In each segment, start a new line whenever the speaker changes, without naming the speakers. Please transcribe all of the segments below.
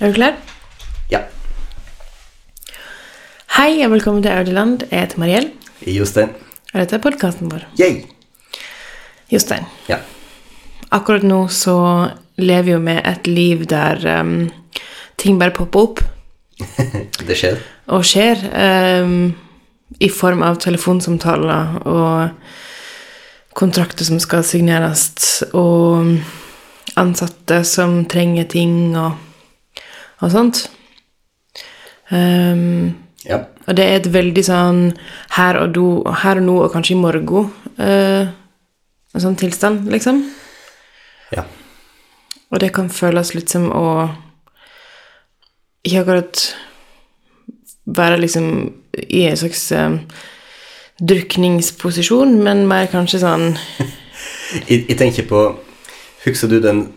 Er du klar?
Ja.
Hei og velkommen til Audiland. Jeg heter Mariell,
Jostein.
og dette er podkasten vår.
Yay!
Jostein,
Ja.
akkurat nå så lever jo vi et liv der ehm, ting bare popper opp
Det skjer.
og skjer. ehm, I form av telefonsamtaler og kontrakter som skal signeres, og ansatte som trenger ting og, og sånt. Ehm,
Ja.
Og det er et veldig sånn her og, do, her og nå og kanskje i morgen eh, En sånn tilstand, liksom.
Ja.
Og det kan føles litt som å ikke akkurat være liksom i en slags eh, drukningsposisjon, men mer kanskje sånn
Jeg, jeg tenker på Husker du den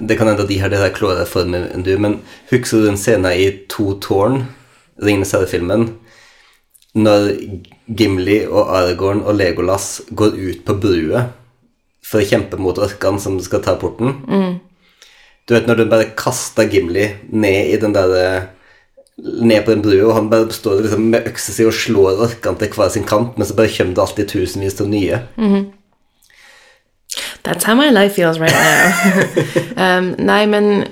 Det kan hende at de har det der klåere for meg enn du, men husker du den scenen i To tårn, Ringenes herre-filmen, når Gimli og Aragorn og Legolas går ut på brua for å kjempe mot orkene som skal ta porten? Du vet når du bare kaster Gimli ned i den der ned på den brua, og han bare står liksom med øksa si og slår orkene til hver sin kant, men så bare kommer det alltid tusenvis av nye.
That's how my life feels right now. um, nei, men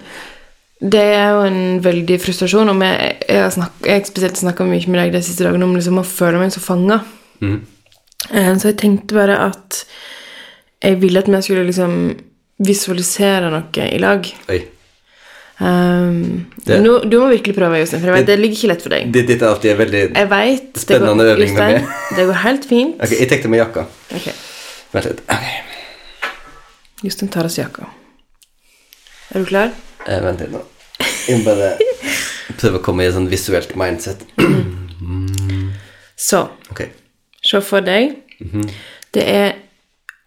det er jo en veldig frustrasjon. Om jeg, jeg, har snakk, jeg har spesielt snakka mye med deg de siste dagene om liksom, å føle meg så fanga.
Mm.
Um, så jeg tenkte bare at jeg ville at vi skulle liksom visualisere noe i lag.
Oi.
Um,
Det-
nå, du må virkelig prøve, Jostein, for jeg vet, det ligger ikke lett for deg.
Det, dette er alltid veldig
Jeg vet, det går-
Spennende øving med
Jostein,
meg.
Det går helt fint.
Ok, jeg tenkte med jakka.
Ok.
Vent litt. Ok,
Jostein tar av seg jakka. Er du klar?
eh, vent litt nå. Jeg må bare prøve å komme i et sånn visuelt mindset.
Så
Ok.
Se for deg.
Mhm.
Det er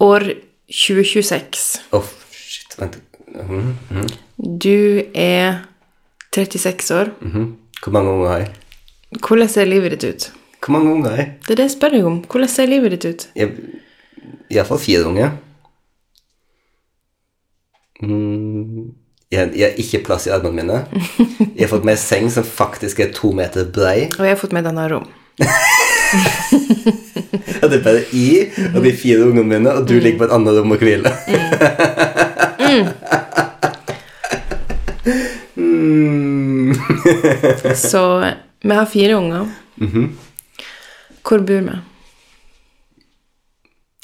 år 2026.
Åh, shit. Vent. Mhm, mhm.
Du er 36 år.
Mhm. Hvor mange unger har jeg?
Hvordan ser livet ditt ut?
Hvor mange unger har jeg?
Det er det jeg spør deg om. Hvordan ser livet ditt ut?
jeg I hvert fall fire unger. Mm, jeg, jeg har ikke plass i armene mine. Jeg har fått meg en seng som faktisk er to meter brei.
Og jeg har fått meg et annet rom.
Ja, det er bare i, og de fire ungene mine, og du ligger på et annet rom og hviler. Mm.
Så vi har fire unger.
Mhm.
Hvor bor vi?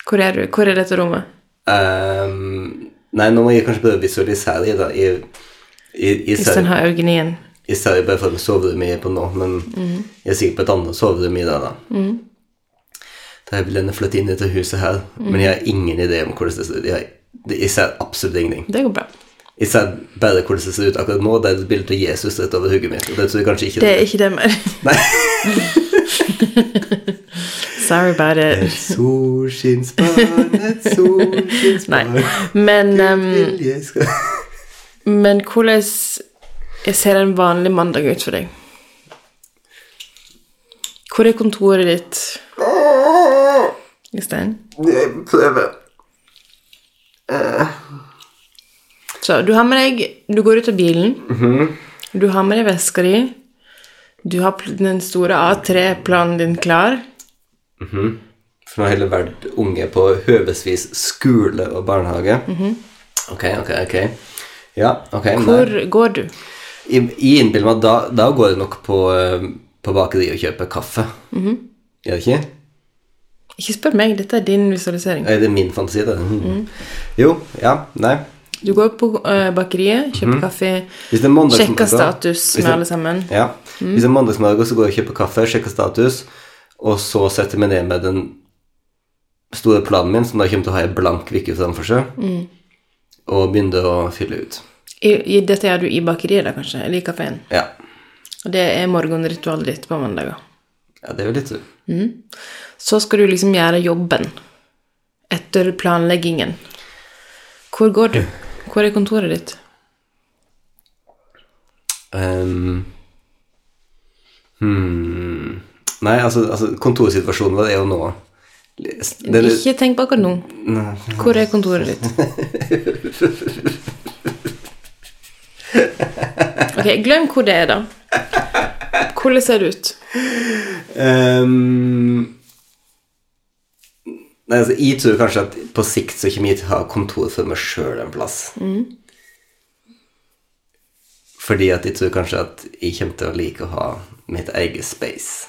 Hvor er du? Hvor er dette rommet?
Ehm, nei, nå må jeg kanskje prøve å visualisere det. da. Jeg, jeg, jeg, ser,
Jostein har øynene igjen.
jeg ser jo bare for meg soverommet jeg er på nå, men
Mhm.
jeg er sikkert på et annet soverom i dag, da. Da jeg vil gjerne flytte inn i dette huset her, men jeg
Mhm.
har ingen idé om hvordan det ser ut. Jeg, jeg ser absolutt ingenting.
Det går bra.
Jeg ser bare hvordan det ser ut akkurat nå. Det er et bilde av Jesus rett over hodet mitt. Og det tror jeg kanskje ikke
Det er ikke det mer.
Nei.
Sorry about it.
Solskinnsbarn, et solskinnsbarn
Nei. Men ehm,
vil jeg skal-
Men hvordan jeg ser en vanlig mandag ut for deg? Hvor er kontoret ditt, Jostein?
Jeg prøver.
Så du har med deg Du går ut av bilen.
Mhm.
Du har med deg veska di. Du har pl- den store A3-planen din klar.
For nå har hele vært unge på høvesvis skole og barnehage. Ok, ok, ok. Ja, ok. nei.
Mhm. Hvor går du?
Jeg jeg innbiller meg at da, da går det nok på, eh, på bakeri og kjøper kaffe.
Mhm.
Gjør det ikke?
Ikke spør meg, dette er din visualisering.
Er det min fantasi, det?
Mhm.
Mm. Jo, ja, nei.
Du går på eh, bakeriet,
Mhm.
kjøper kaffe,
Hvis det er mandagsmorgen-
sjekker status
Hvis
med
det-
alle Mhm. sammen.
Ja. Hvis det er mandagsmorgen, så går jeg og kjøper kaffe, sjekker status, og så setter jeg meg ned med den store planen min, som da kommer til å ha en blank uke framfor seg,
Mhm.
og begynner å fylle ut.
I, i, dette gjør du i bakeriet, da, kanskje? Eller i kafeen?
Ja.
Og det er morgenritualet ditt på mandager.
ja det er jo litt
Så skal du liksom gjøre jobben etter planleggingen. Hvor går du? Hvor er kontoret ditt?
Ehm, hmm. Nei, altså, altså kontorsituasjonen vår er jo nå det er,
Ikke tenk på akkurat nå. Hvor er kontoret ditt? Ok, glem hvor det er, da. Hvordan ser det ut?
Ehm, nei, altså, jeg tror kanskje at på sikt så kommer jeg til å ha kontor for meg sjøl en plass. Fordi at jeg tror kanskje at jeg kommer til å like å ha mitt eget space.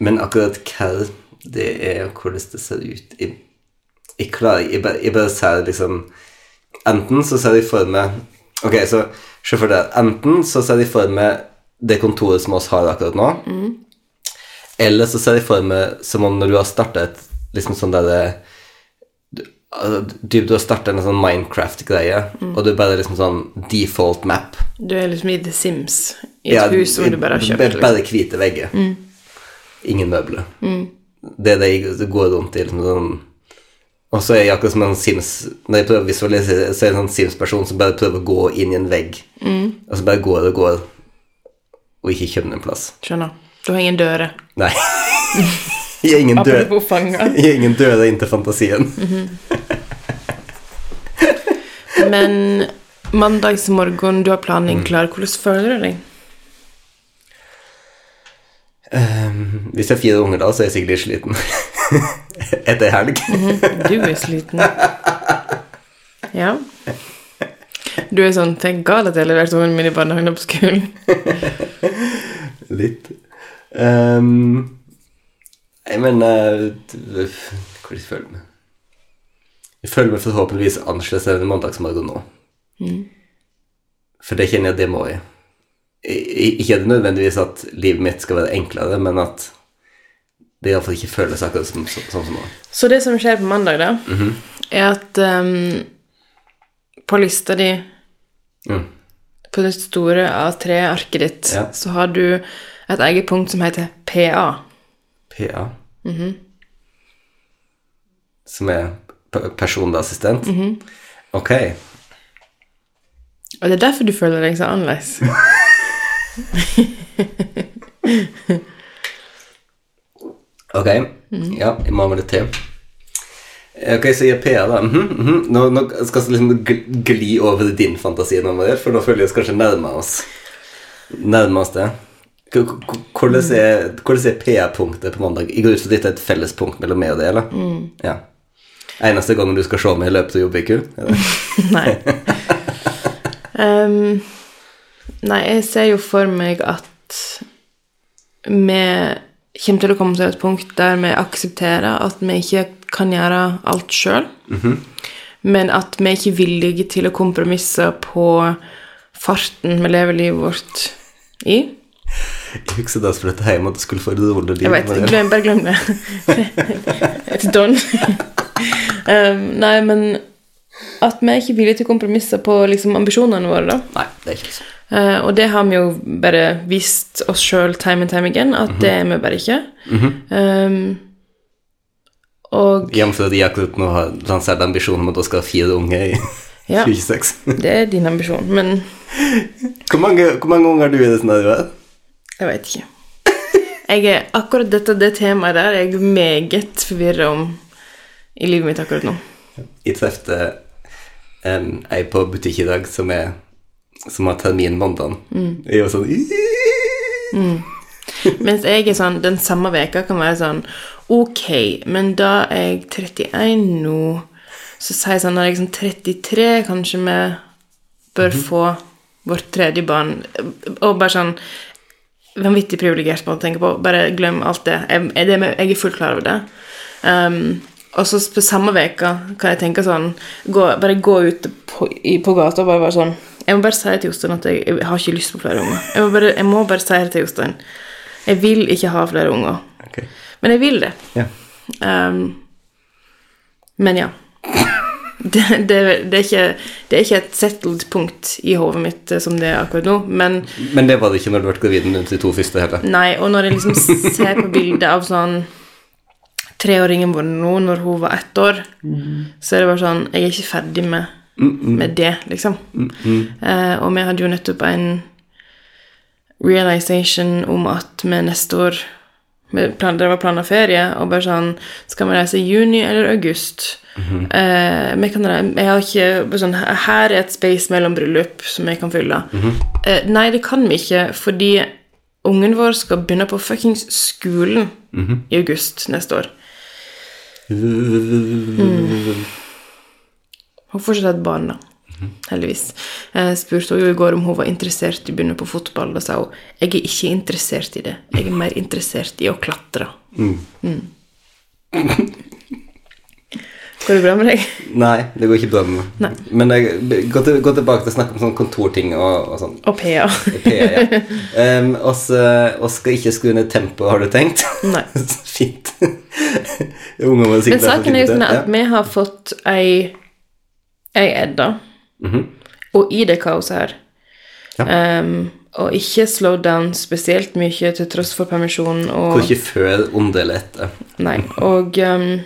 Men akkurat hva det er, og hvordan det ser ut Jeg, jeg klarer jeg bare, jeg bare ser liksom Enten så ser jeg for meg Ok, så se for deg Enten så ser jeg for meg det kontoret som oss har akkurat nå. Eller så ser jeg for meg som om når du har startet liksom sånn der du- altså, du, du har startet en sånn Minecraft-greie,
Mm.
og du bare liksom sånn default map.
Du er liksom i The Sims, i et hus som du bare har kjøpt.
Bare,
Liksom.
bare hvite vegger. Ingen møbler.
Mm.
Det er det jeg går rundt i. Liksom, sånn. Og så er jeg akkurat som en Sims Når jeg prøver å visualisere, så er jeg en sånn Sims-person som bare prøver å gå inn i en vegg.
Mm.
Og så bare går og går, og ikke kommer en plass.
Skjønner. Du har ingen dører.
Nei. jeg er ingen dør.
Apropos fanga.
Jeg er ingen døde inntil fantasien.
Men mandagsmorgen, du har planen
Mm.
din klar. Hvordan føler du deg?
Ehm, Hvis jeg har fire unger da, så er jeg sikkert litt sliten. Etter helg.
Du er sliten. Ja. Du er sånn Tenk galt at jeg leverte ungene mine i barnehagen og på skolen.
Litt. Ehm, jeg mener Hvordan føler jeg meg? Jeg føler meg forhåpentligvis annerledes enn en mandagsmorgen nå. For det kjenner jeg at det må jeg. I- Ikke er det nødvendigvis at livet mitt skal være enklere, men at det iallfall ikke føles akkurat som, så, sånn som nå.
Så det som skjer på mandag, da, er at ehm, på lista di
Mm.
på det store A3-arket ditt,
Ja.
så har du et eget punkt som heter PA.
PA. Som er p- personlig assistent? Ok.
Og det er derfor du føler deg så annerledes.
Ok, ja, jeg må ha med litt til. Ok, så jeg er PA, da. Mhm, mhm. Nå, nå skal vi liksom gl- gli over i din fantasi, nå, Mariel, for nå føler vi oss kanskje nærme oss. Nærme oss det. K- k- k- Hvordan er, hvordan er PA-punktet på mandag? Jeg går ut fra dette er et fellespunkt mellom meg og deg, eller? Ja. Eneste gangen du skal se meg i løpet av jobbuka?
Nei. Ehm, nei, jeg ser jo for meg at vi kommer til å komme til et punkt der vi aksepterer at vi ikke kan gjøre alt sjøl, men at vi ikke er villige til å kompromisse på farten vi lever livet vårt i.
Jeg husker da jeg flyttet hjem at du skulle få et rolig liv.
Jeg vet,
Mariel.
glem, bare glem det. It's done. Ehm, nei, men at vi er ikke villige til å kompromisse på liksom, ambisjonene våre, da.
Nei, det er ikke sånn.
Eh, og det har vi jo bare vist oss sjøl time and time again, at det er vi bare ikke. Ehm, og
Jevnt at jeg akkurat nå har lansert ambisjonen om at jeg skal ha fire unge i
Ja.
26.
det er din ambisjon, men
Hvor mange, hvor mange unger har du i det scenarioet?
jeg veit ikke. Jeg er, akkurat dette det temaet der er jeg meget forvirra om i livet mitt akkurat nå.
Jeg trefte um, ei på butikk i dag som, er, som har termin mandag. Jeg var sånn
Mens jeg er sånn den samme veka kan være sånn Ok, men da er jeg 31 nå, så sier jeg sånn når jeg er sånn 33, kanskje vi bør få vårt tredje barn. Og bare sånn Vanvittig privilegert måte å tenke på. Bare glem alt det. Jeg, jeg, det med- jeg er fullt klar over det. Ehm, og så på samme veka kan jeg tenke sånn gå, Bare gå ut på, i, på gata og bare være sånn Jeg må bare si til Jostein at jeg, jeg har ikke lyst på flere unger. Jeg må bare, jeg må bare si det til Jostein. Jeg vil ikke ha flere unger.
Ok.
Men jeg vil det.
Ja.
Ehm, men ja. Det, det, det, er ikke, det er ikke et settled punkt i hodet mitt eh, som det er akkurat nå, men
Men det var det ikke når du ble gravid med de to første heller.
Nei, og når jeg liksom ser på bildet av sånn treåringen vår nå, når hun var ett år, så er det bare sånn Jeg er ikke ferdig med, med det, liksom. Eh, og vi hadde jo nettopp en realization om at vi neste år med plan, drev og planla ferie, og bare sånn Skal vi reise i juni eller august? eh, vi kan, re- jeg har ikke bare sånn, Her er et space mellom bryllup som jeg kan fylle. eh, nei, det kan vi ikke, fordi ungen vår skal begynne på fuckings skolen i august neste år. Hun får ikke et barn, da.
Mhm.
Heldigvis. Jeg spurte henne jo i går om hun var interessert i å begynne på fotball. Da sa hun jeg er ikke interessert i det. Jeg er mer interessert i å klatre.
Mm.
Mm. Går det bra med deg?
Nei, det går ikke bra med meg. Men jeg, gå, til, gå tilbake til å snakke om sånn kontorting og, og sånn.
Og PA.
PA, ja. Um, oss, eh, oss skal ikke skru ned tempoet, har du tenkt?
Nei.
Så Fint. Ungene våre
Men
sikkert
saken er jo sånn
Ja.
at vi har fått ei ei Edda. Og i det kaoset her
Mhm. Ja.
ehm, Og ikke slow down spesielt mye til tross for permisjon og
Går ikke før onde eller etter.
Nei. Og ehm,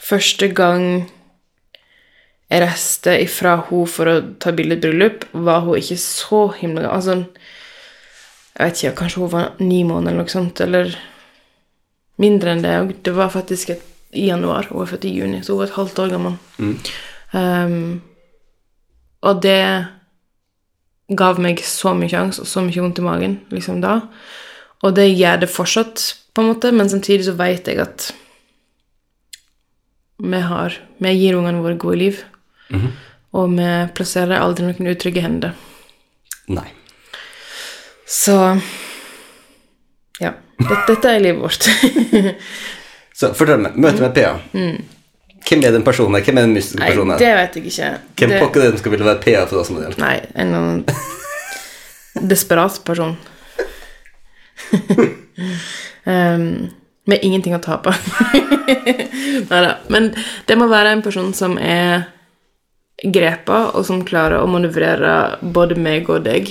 første gang jeg reiste ifra hun for å ta bilde i et bryllup, var hun ikke så himla gammel. Altså, jeg vet ikke, kanskje hun var ni måneder eller noe sånt, eller mindre enn det. Og det var faktisk et, i januar, hun er født i juni, så hun var et halvt år gammel. Ehm, og det gav meg så mye angst og så mye vondt i magen liksom da. Og det gjør det fortsatt, på en måte, men samtidig så vet jeg at vi har Vi gir ungene våre gode liv. Og vi plasserer aldri noen utrygge hender.
Nei.
Så Ja. Dette, dette er livet vårt.
Så fortell meg. Møte med PA. Hvem er den personen her? Hvem er den mystiske
Mm. Nei,
personen her?
det vet jeg ikke.
Hvem
Det-
pokker er det som skal ville være PA for oss med det?
Nei, en eller annen desperat person. um, med ingenting å tape. Nei da. Men det må være en person som er grepa, og som klarer å manøvrere både meg og deg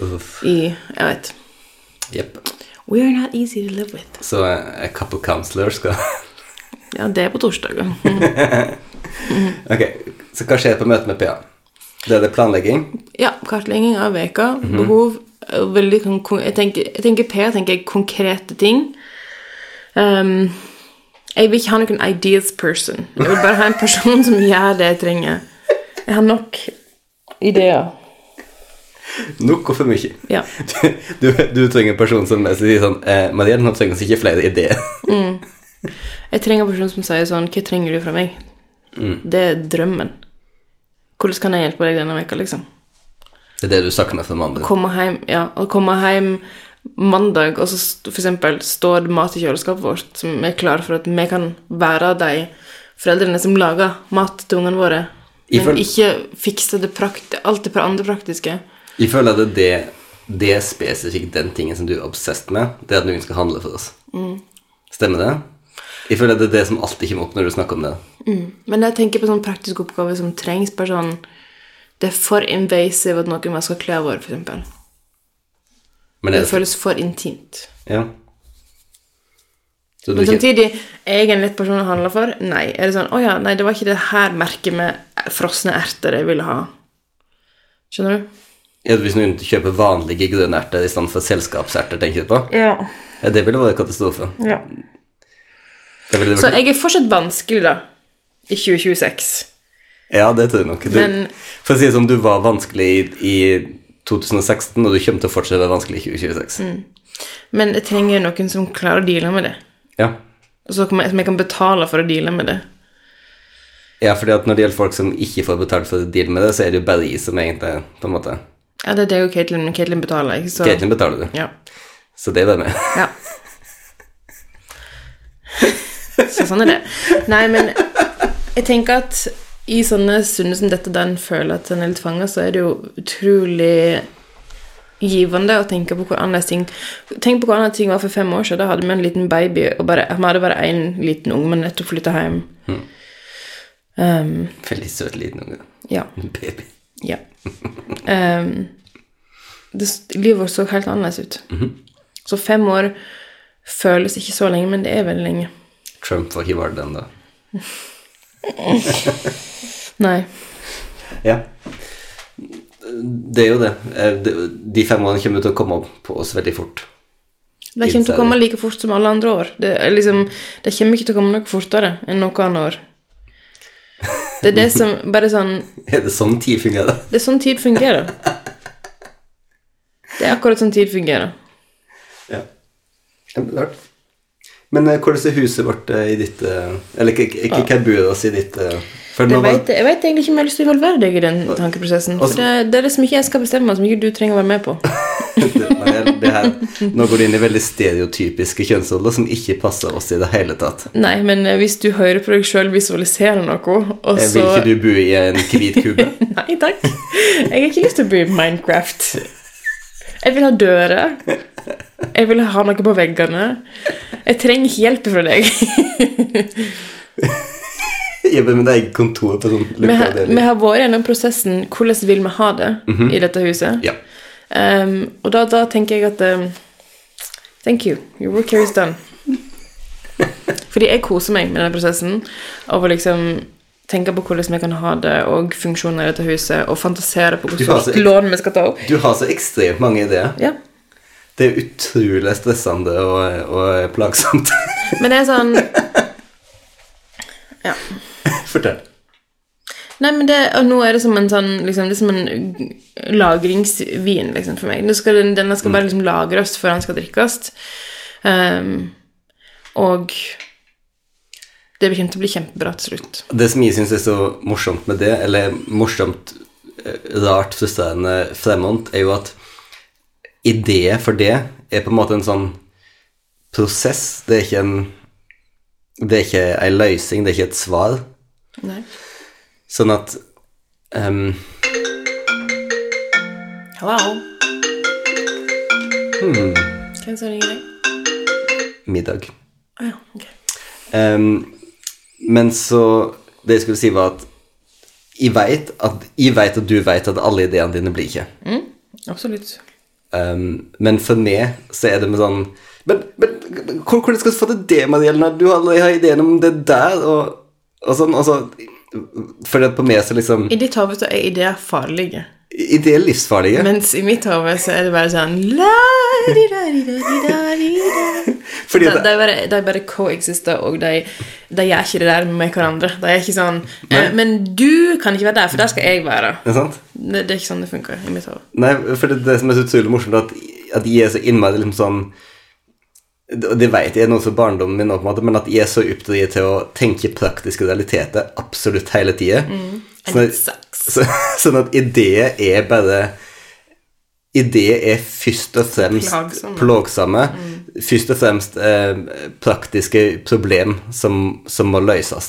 Uff.
i Jeg vet.
Jepp.
We are not easy to live with.
Så eh, a couple counselor skal
Ja, det er på torsdager.
Ok, så hva skjer på møtet med PA? Det er det planlegging?
Ja, kartlegging av veka, behov eh, veldig, kon- kon- jeg, tenker, jeg tenker P, jeg tenker konkrete ting. Ehm, jeg vil ikke ha noen ideas person. Jeg vil bare ha en person som gjør det jeg trenger. Jeg har nok ideer.
Nok og for mye.
Ja.
Du, du trenger en person som sier sånn eh, Maria, nå trenger vi ikke flere ideer.
Jeg trenger en person som sier sånn Hva trenger du fra meg? Det er drømmen. Hvordan kan jeg hjelpe deg denne veka, liksom?
Det er det du savner fra mannen din.
komme hjem, ja, å komme hjem mandag, og så st- for eksempel står det mat i kjøleskapet vårt som er klar for at vi kan være de foreldrene som lager mat til ungene våre, men
Iføl-
ikke fikse det prakt alt det pra- andre praktiske.
Jeg føler at det, det er spesifikt den tingen som du er obsessed med, det er at noen skal handle for oss.
Mm.
Stemmer det? Jeg føler at det er det som alltid kommer opp når du snakker om det.
Men jeg tenker på sånne praktiske oppgaver som trengs, bare sånn Det er for invasive at noen vasker klærne våre, for eksempel.
Men
Det
det er,
føles for intimt.
ja. Så du
Men
ikke
samtidig, er jeg en lett person å handle for? Nei. Er det sånn 'Å ja, nei, det var ikke det her merket med frosne erter jeg ville ha'. Skjønner du?
Ja, Hvis noen kjøper vanlige grønne erter i stedet for selskapserter, tenker du på?
Ja.
Ja, det ville vært katastrofe. Det ville
Så
vært...
jeg er fortsatt vanskelig, da. I 2026.
Ja, det tror jeg nok. Du,
Men-
for å si det sånn, du var vanskelig i, i 2016, og du kommer til å fortsette å være vanskelig i 2026.
Mm. Men jeg trenger noen som klarer å deale med det.
Ja.
Og så kan jeg- som jeg kan betale for å deale med det.
ja, fordi at når det gjelder folk som ikke får betalt for å deale med det, så er det jo bare de som egentlig på en måte
Ja, det er deg og Caitlin, men Caitlin betaler ikke, så
Caitlin betaler du,
Ja.
så det er bare med.
ja. Så sånn er det. Nei, men jeg tenker at i sånne stunder som dette, der en føler at en er litt fanga, så er det jo utrolig givende å tenke på hvor annerledes ting Tenk på hvor annerledes ting var for fem år siden. Da hadde vi en liten baby, og bare, vi hadde bare én liten unge, men nettopp flytta hjem. Um,
Veldig søt liten unge.
ja.
Baby.
ja. Um, det, livet vårt så helt annerledes ut. Så fem år føles ikke så lenge, men det er veldig lenge.
Trump var ikke var den da.
Nei.
Ja. Det er jo det. Eh, det- De fem årene kommer til å komme opp på oss veldig fort.
De kommer til å komme like fort som alle andre år. Det, er liksom, de kommer ikke til å komme noe fortere enn noe annet år. Det er det som bare sånn
Er det sånn tid fungerer?
Det er sånn tid fungerer. Det er akkurat sånn tid fungerer.
Ja. Kjempelart. Men eh, hvordan er huset vårt eh, i ditt eh, Eller ikke, ikke, ikke hva bor oss i ditt eh, for
Jeg
nå var-
vet, jeg vet egentlig ikke om jeg har lyst til å involvere deg i den tankeprosessen. For
Altså-
det, det er det som ikke jeg skal bestemme, som ikke du trenger å være med på.
Nei, det her, Nå går du inn i veldig stereotypiske kjønnsroller som ikke passer oss i det hele tatt.
Nei, men eh, hvis du hører på deg sjøl visualisere noe, og
Eh,
så
Vil ikke du bo i en hvit kube?
Nei takk. Jeg har ikke lyst til å bli Minecraft. Jeg vil ha dører. Jeg vil ha noe på veggene. Jeg trenger ikke hjelp fra deg.
Jobbe med deg kontor på sånn
Vi har, vi
lukkeavdeling?
har vært gjennom prosessen 'Hvordan vil vi ha det?'
Mhm.
i dette huset.
Ja.
Um, og da, da tenker jeg at um, Thank you. Your work here is done. Fordi jeg koser meg med denne prosessen av å liksom tenke på hvordan vi kan ha det, og funksjoner i dette huset, og fantasere på
Du
hvordan
har altså-
lån vi skal ta opp.
Du har så ekstremt mange ideer.
Ja.
Det er utrolig stressende og, og plagsomt.
Men det er sånn Ja.
Fortell.
Nei, men det, og nå er det som en sånn liksom, Det er som en lagringsvin liksom, for meg. Nå skal den, denne skal bare liksom lagres før den skal drikkes. Ehm, og det kommer til å bli kjempebra til slutt.
Det som jeg syns er så morsomt med det, eller morsomt, eh, rart, frustrerende fremhånd, er jo at ideer for det er på en måte en sånn prosess. Det er ikke en Det er ikke ei løsning, det er ikke et svar.
Nei.
Sånn at ehm,
Hello. Hmm. Hvem som ringer deg?
Middag.
Å ja, ok.
Ehm, men så Det jeg skulle si, var at jeg veit at, jeg vet at du veit at alle ideene dine blir ikke.
Absolutt.
Um, men for meg så er det med sånn Men, men hvor- hvordan skal du få til det, Marielle, når du allerede har ideen om det der, og, og sånn? Og så, for det på meg så liksom
I ditt hode så er ideer farlige.
Ideer er livsfarlige.
Mens i mitt hode så er det bare sånn la-di-da-di-da-di-da-di-da.
fordi
de,
at
de, bare, de bare coexister, og de, de gjør ikke det der med hverandre. De er ikke sånn eh, Men du kan ikke være der, for der skal jeg være.
Ikke sant?
Det, det er ikke sånn det funker i mitt hode.
Nei, for det, det som er så utrolig morsomt, er at, at jeg er så innmari liksom sånn Og det vet jeg er noe fra barndommen min, nå, på en måte, men at jeg er så opptatt til å tenke praktiske realiteter absolutt hele tida. Sånn,
And it
at-
sucks.
så, sånn at ideer er bare Ideer er først og fremst
Plagsomme.
plagsomme, først og fremst eh, praktiske problem som, som må løses.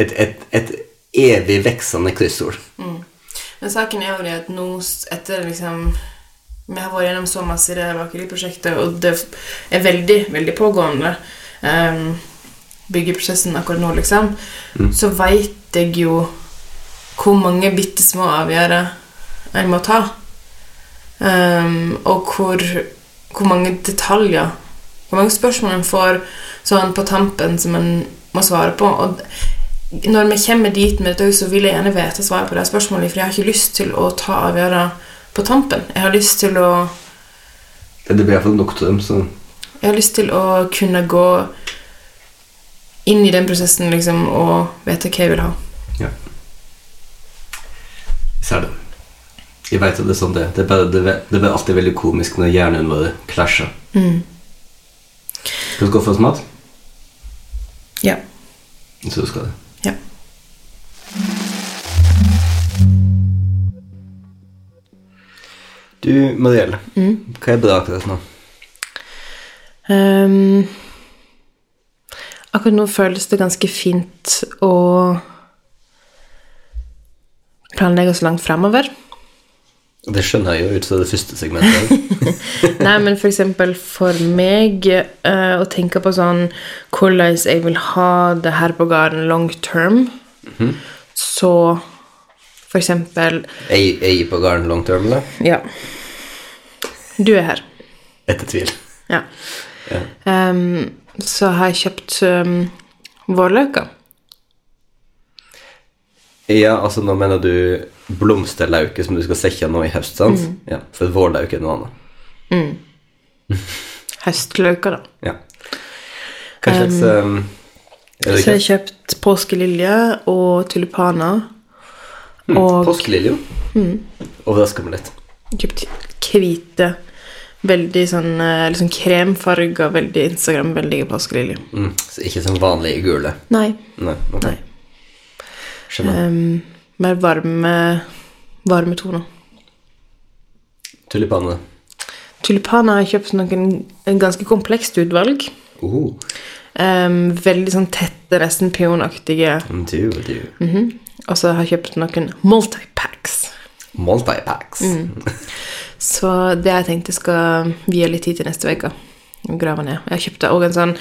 Et, et, et evig veksende kryssord.
Men saken er jo det at nå s- etter liksom Vi har vært gjennom så masse i det bakeriprosjektet, og det er veldig, veldig pågående um, byggeprosessen akkurat nå, liksom, så veit jeg jo hvor mange bitte små avgjørelser en må ta. Ehm, og hvor, hvor mange detaljer Hvor mange spørsmål en får sånn på tampen som en må svare på. Og d- når vi kommer dit med dette, så vil jeg gjerne vite svaret på det spørsmålet, for jeg har ikke lyst til å ta avgjørelser på tampen. Jeg har lyst til å
Det blir iallfall nok til dem, så
jeg har lyst til å kunne gå inn i den prosessen liksom, og vite hva jeg vil ha.
Ja. Ser det. Jeg veit at det er sånn det er. Det er bare, det er, det er bare alltid veldig komisk når hjernen vår klasjer. Skal du gå for oss mat?
Ja.
Jeg tror du skal det.
ja.
Du, Marielle, hva er bra akkurat nå?
Ehm, akkurat nå føles det ganske fint å planlegge så langt fremover.
Det skjønner jeg jo ut fra det første segmentet.
Nei, men for eksempel for meg eh, å tenke på sånn hvordan jeg vil ha det her på gården long term, så for eksempel
er jeg- er jeg på garden long term, eller?
Ja. Du er her.
Etter tvil.
Ja. Ehm, så har jeg kjøpt um, vårløker.
Ja, altså nå mener du blomsterlauke som du skal sekke nå i høst, sant? Ja, for vårlauke er noe annet.
høstløker, da.
Ja. Kanskje et um, jeg
Så
vet
jeg har
ikke.
kjøpt påskelilje og tulipaner. Og Mm.
Påskelilje. Overrasker meg litt.
kjøpt hvite, veldig sånn, eh, litt sånn kremfarga, veldig Instagram-veldige påskeliljer.
Mm. Så ikke som vanlig gule.
Nei.
Nei. ok.
Nei.
Skjønner.
em, mer varme, varme toner. Eh.
Tulipaner.
Tulipaner har jeg kjøpt noen, en ganske komplekst utvalg.
Oh,
Em, veldig sånn tette, nesten peonaktige.
du, du.
Mhm. Og så har jeg kjøpt noen multipacks.
Multipacks.
Mm. Så det jeg tenkte jeg skal vie litt tid til neste uke. å Grave ned. Jeg kjøpte òg en sånn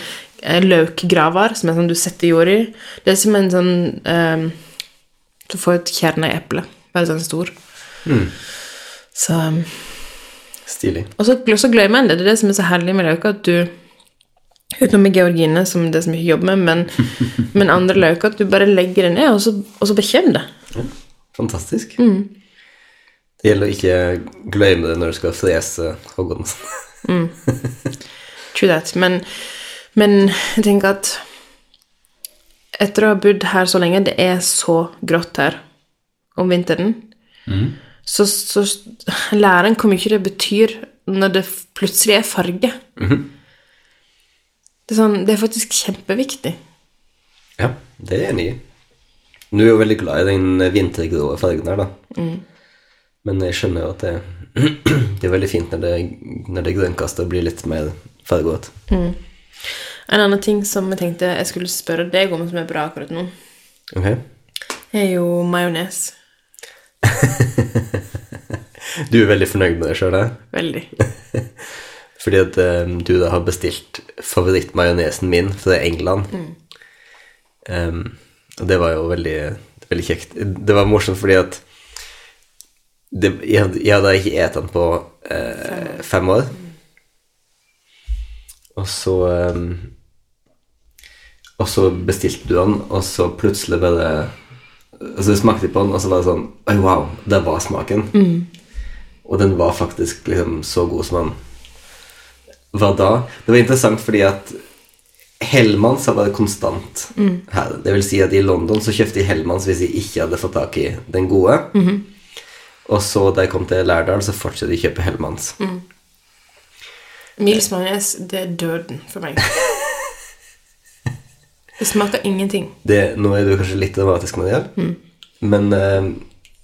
eh, løkgraver, som er sånn du setter jord i. Det er som en sånn eh, Du får et kjerne i eplet. Veldig sånn stor. Så ehm,
Stilig.
Og så, og så glemmer en det. Det er det som er så herlig med løker, at du Utenom med georgine, som det er så mye jobb med, men, men andre løker, at du bare legger det ned, og så, og så bekjemmer det.
Fantastisk.
Mm.
Det gjelder å ikke glemme det når du skal frese hoggorm.
True that. Men, men jeg tenker at etter å ha bodd her så lenge, det er så grått her om vinteren, så, så lærer en hvor mye det betyr når det f- plutselig er farge. det, er sånn, det er faktisk kjempeviktig.
Ja, det er jeg enig i. Du er jo veldig glad i den vintergrå fargen her, da.
Mm.
Men jeg skjønner jo at det, det er veldig fint når det, når det grønnkastet blir litt mer fargeåt.
En annen ting som jeg tenkte jeg skulle spørre deg om, som er bra akkurat nå,
Ok?
er jo majones.
Du er veldig fornøyd med deg eh? sjøl, da?
Veldig.
Fordi at eh, du da har bestilt favorittmajonesen min fra England. Em, og det var jo veldig, veldig kjekt. Det var morsomt fordi at det, jeg, hadde- jeg hadde ikke et den på eh, fem år. Og så em, Og så bestilte du den, og så plutselig bare Altså du smakte på den, og så var det sånn Oi, wow, det var smaken. Og den var faktisk liksom så god som den hva da? Det var interessant fordi at Hellmans har vært konstant her. Det vil si at i London så kjøpte jeg Hellmans hvis jeg ikke hadde fått tak i den gode. Og så da jeg kom til Lærdal, så fortsatte jeg å kjøpe Hellmans.
Mils majones, det er døden for meg. Det smaker ingenting.
Det, nå er du kanskje litt dramatisk med det, her, men eh,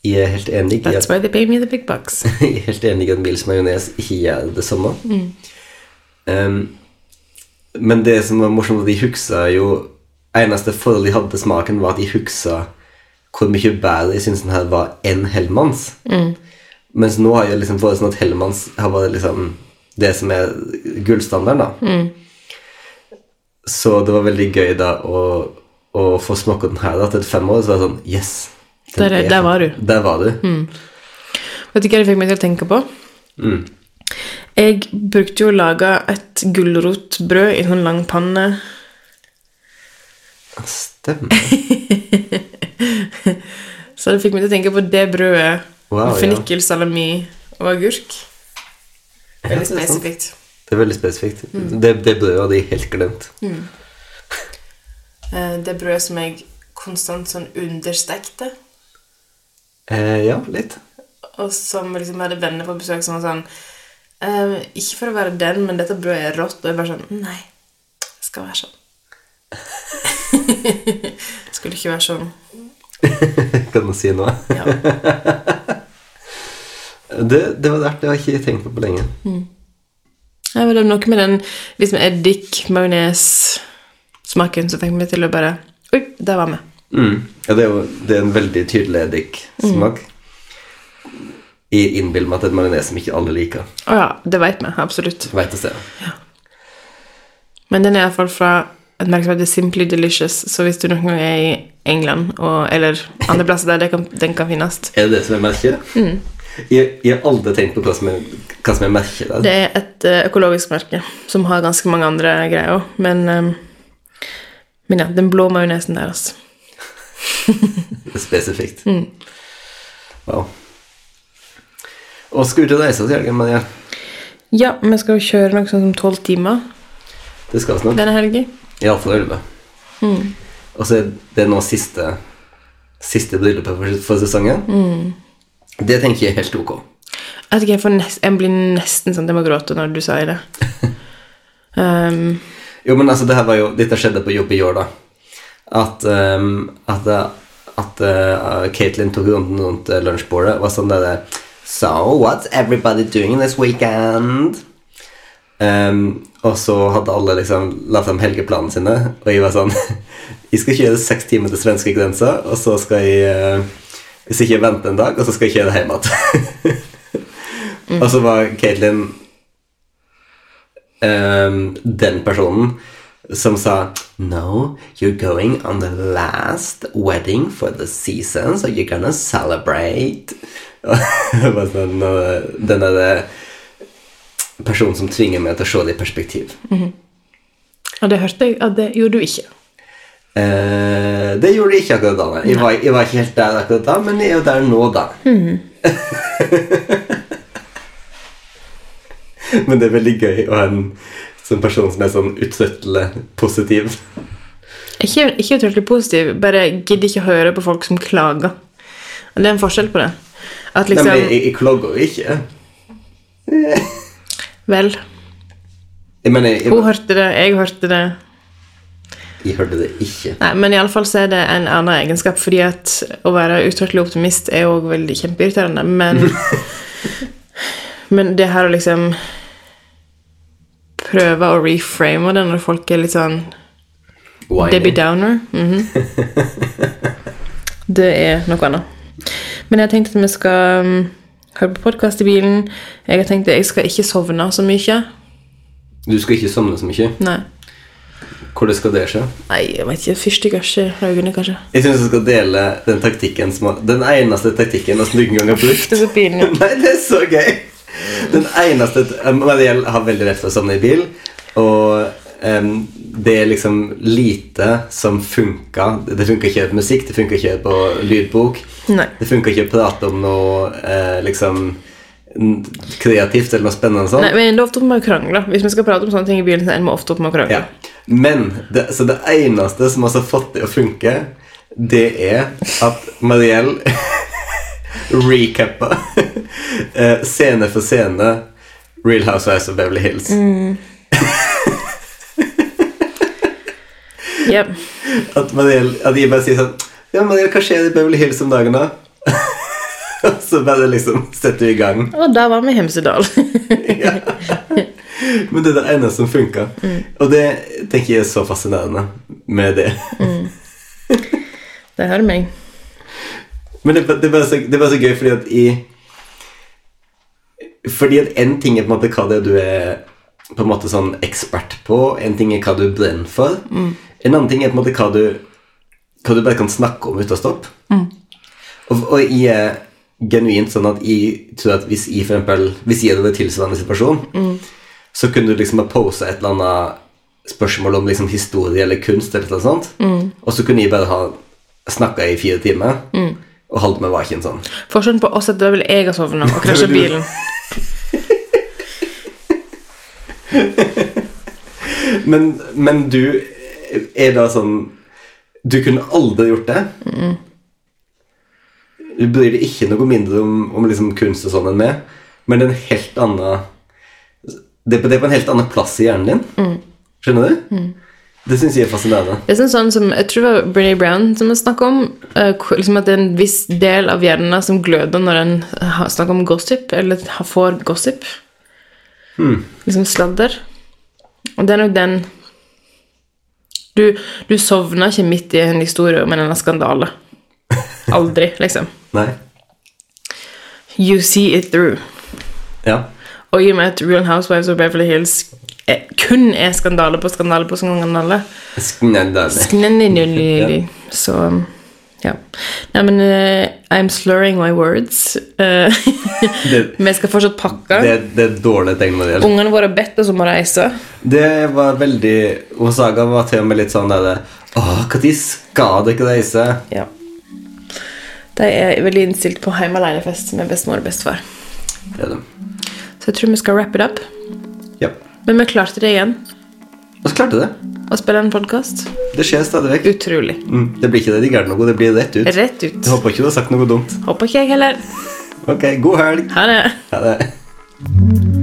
jeg er helt enig i at
That's why they pay me the big bucks.
Jeg er helt enig i at Mils majones ikke gjør det samme.
Mm.
Um, men det som var morsomt, var at de huksa jo Eneste forhold de hadde til smaken, var at de huksa hvor mye bedre jeg syntes den her var enn Hellmanns.
Mm.
Mens nå har jeg liksom fått det sånn at Hellmanns har vært liksom det som er gullstandarden, da.
Mm.
Så det var veldig gøy da å, å få smake den her da, til fem år, så var det sånn Yes! den
Der er-
er
der
fan-
var du. Mm.
Der var du.
Vet du hva det fikk meg til å tenke på?
Mm.
Jeg brukte jo å lage et gulrotbrød i en sånn lang panne.
Stemmer.
Så det fikk meg til å tenke på det brødet.
Wow,
med
ja.
Fennikel, salami og agurk.
Ja,
Veldig
det er sant.
spesifikt. Mm.
Det er veldig spesifikt. Det, det brødet hadde jeg helt glemt.
Eh, Det brødet som jeg konstant sånn understekte.
Eh, ja, litt.
Og som liksom hadde venner på besøk som var sånn «Ehm, Ikke for å være den, men dette brødet er rått. Og jeg bare sånn Nei, det skal være sånn. Skulle ikke være sånn.
Kan man si noe?
Ja.
Det, det var rart. Det har jeg ikke tenkt på på lenge.
Mm. Nei, men det er noe med den liksom eddik, majones, smaken som fikk meg til å bare Oi, der var vi.
Mm. Ja, det er jo det er en veldig tydelig eddiksmak.
Mm.
Jeg innbiller meg at det er en majones som ikke alle liker.
Å ja, det vet vi. Absolutt.
Veit å se.
Men den er iallfall fra et merke som heter Simply Delicious, så hvis du noen gang er i England og, eller andre plasser der det kan, den kan finnes
Er det det som er merket?
Mm.
Jeg, jeg har aldri tenkt på hva som er, hva som er merket der.
Det er et eh, økologisk merke som har ganske mange andre greier. Men, eh, men ja, den blå majonesen altså. deres.
Det er spesifikt.
Mm.
Wow. Og skal ut og reise oss i helgen, Maria.
Ja, vi skal jo kjøre noe sånn som tolv timer
Det skal vi nok.
denne helgen.
Iallfall elleve. Og så er det nå siste, siste bryllupet for, for sesongen. Det tenker jeg er helt ok.
Altså, Jeg vet ikke, jeg, får nest, jeg blir nesten sånn at jeg må gråte når du sier det. Um,
Jo, men altså, det her var jo, dette skjedde på jobb i år, da. At, ehm, at, eh, at eh, Caitlyn tok runden rundt eh, lunsjbordet og var sånn derre So, what's everybody doing this weekend? Ehm, og så hadde alle liksom la fram helgeplanene sine, og jeg var sånn Jeg skal kjøre seks timer til svenskegrensa, og så skal jeg eh, Hvis ikke jeg venter en dag, og så skal jeg kjøre hjem igjen. Og så var Caitlyn ehm, den personen som sa No, you're going on the last wedding for the season, so you're gonna celebrate. Og bare sånn, eh, den er det personen som tvinger meg til å se det i perspektiv.
og det hørte jeg at det gjorde du ikke.
Eh, det gjorde jeg ikke akkurat da. nei. Jeg var, jeg var ikke helt der akkurat da, men jeg er jo der nå, da. men det er veldig gøy å ha en sånn person som er sånn utsettelig positiv.
Ikke, ikke utrolig positiv, bare gidder ikke å høre på folk som klager. Og Det er en forskjell på det. At
Nei,
liksom
men jeg, jeg klager jo ikke.
Vel,
Jeg mener, jeg,
hun
jeg,
hørte det, jeg hørte det.
hørte det ikke.
Nei, men iallfall så er det en annen egenskap, fordi at å være utrykkelig optimist er òg veldig kjempeirriterende, men Men det her å liksom prøve å reframe det når folk er litt sånn
Whiny.
Debbie Downer. mhm. det er noe annet. Men jeg har tenkt at vi skal um, høre på podkast i bilen. Jeg har tenkt at jeg skal ikke sovne så mye.
Du skal ikke sovne så mye.
Nei,
Hvordan skal det skje?
Nei jeg vet ikke. Fyrstikkasje. Øynene, kanskje.
Jeg syns du skal dele den taktikken som har Den eneste taktikken nesten du ikke engang har brukt.
Det er så pinlig.
Nei, det er så gøy! Den eneste Mariell har veldig rett for å sovne i bil, og em, det er liksom lite som funker. Det funker ikke å høre på musikk, det funker ikke å høre på lydbok.
Nei.
Det funker ikke å prate om noe eh, liksom n- kreativt eller noe spennende sånn.
Nei, men det er ofte opp med å krangle. Hvis vi skal prate om sånne ting i bilen, så er vi ofte opp med å krangle.
Ja. Men det, så det eneste som har så fått det å funke, det er at Mariell recapper eh, scene for scene Real Housewives of Beverly Hills.
Ja.
At, Mariell, at jeg bare sier sånn Ja, Mariell, hva skjer i Beverly Hills om dagen, da? Og så bare liksom setter vi i gang.
Og da var vi i Hemsedal.
Ja. Men det er det eneste som funker. Og det tenker jeg er så fascinerende med det.
det hører meg.
Men det, det, er bare så, det er bare så gøy fordi at i Fordi at en ting er på en måte hva det er du er på en måte sånn ekspert på, en ting er hva du brenner for, en annen ting er på en måte hva du, hva du bare kan snakke om uten å stoppe. Og, og jeg er genuint sånn at jeg tror at hvis jeg for eksempel Hvis jeg hadde vært i tilsvarende situasjon, så kunne du liksom ha posa et eller annet spørsmål om liksom historie eller kunst eller noe sånt, og så kunne jeg bare ha snakka i fire timer og holdt meg vaken sånn.
Forskjellen på oss er at da vil jeg ha sovna og krasja
Da vil du-
bilen.
Men, men du er da sånn Du kunne aldri gjort det. Du bryr deg ikke noe mindre om, om liksom kunst og sånn enn meg, men det er en helt annen det, er på- det er på en helt annen plass i hjernen din. Skjønner du? Det syns jeg er fascinerende.
Det er sånn, sånn som, Jeg tror det var Brené Brown som snakket om eh, hvor- liksom at det er en viss del av hjernen som gløder når en har- snakker om gossip, eller har- får gossip. Liksom sladder. Og det er nok den Du, du sovner ikke midt i en historie om en eller annen skandale. Aldri, liksom.
Nei?
You see it through.
Ja.
Og i og med at Real Housewives of Beverly Hills er, kun er skandale på skandale på skandale
Skandale.
Sknenninunni. Så ja. Nei, men eh, I'm slurring my words. Eh,
Det,
vi skal fortsatt
det,
pakke.
det er dårlig tegn med det.
Ungene våre har bedt oss om å reise.
Det var veldig Og Saga var til og med litt sånn der Åh, når skal dere reise?
Ja. De er veldig innstilt på hjemme alene-fest med bestemor og bestefar.
Det er det.
Så jeg tror vi skal wrap it up.
Ja.
Men vi klarte det igjen.
Og så klarte jeg det.
Å spille en podkast.
Det skjer stadig vekk.
Utrolig.
Mm. Det blir ikke redigert noe, det blir rett ut.
Rett ut.
Jeg håper ikke du har sagt noe dumt.
Håper ikke jeg heller.
Ok, god helg.
Ha det.
Ha det.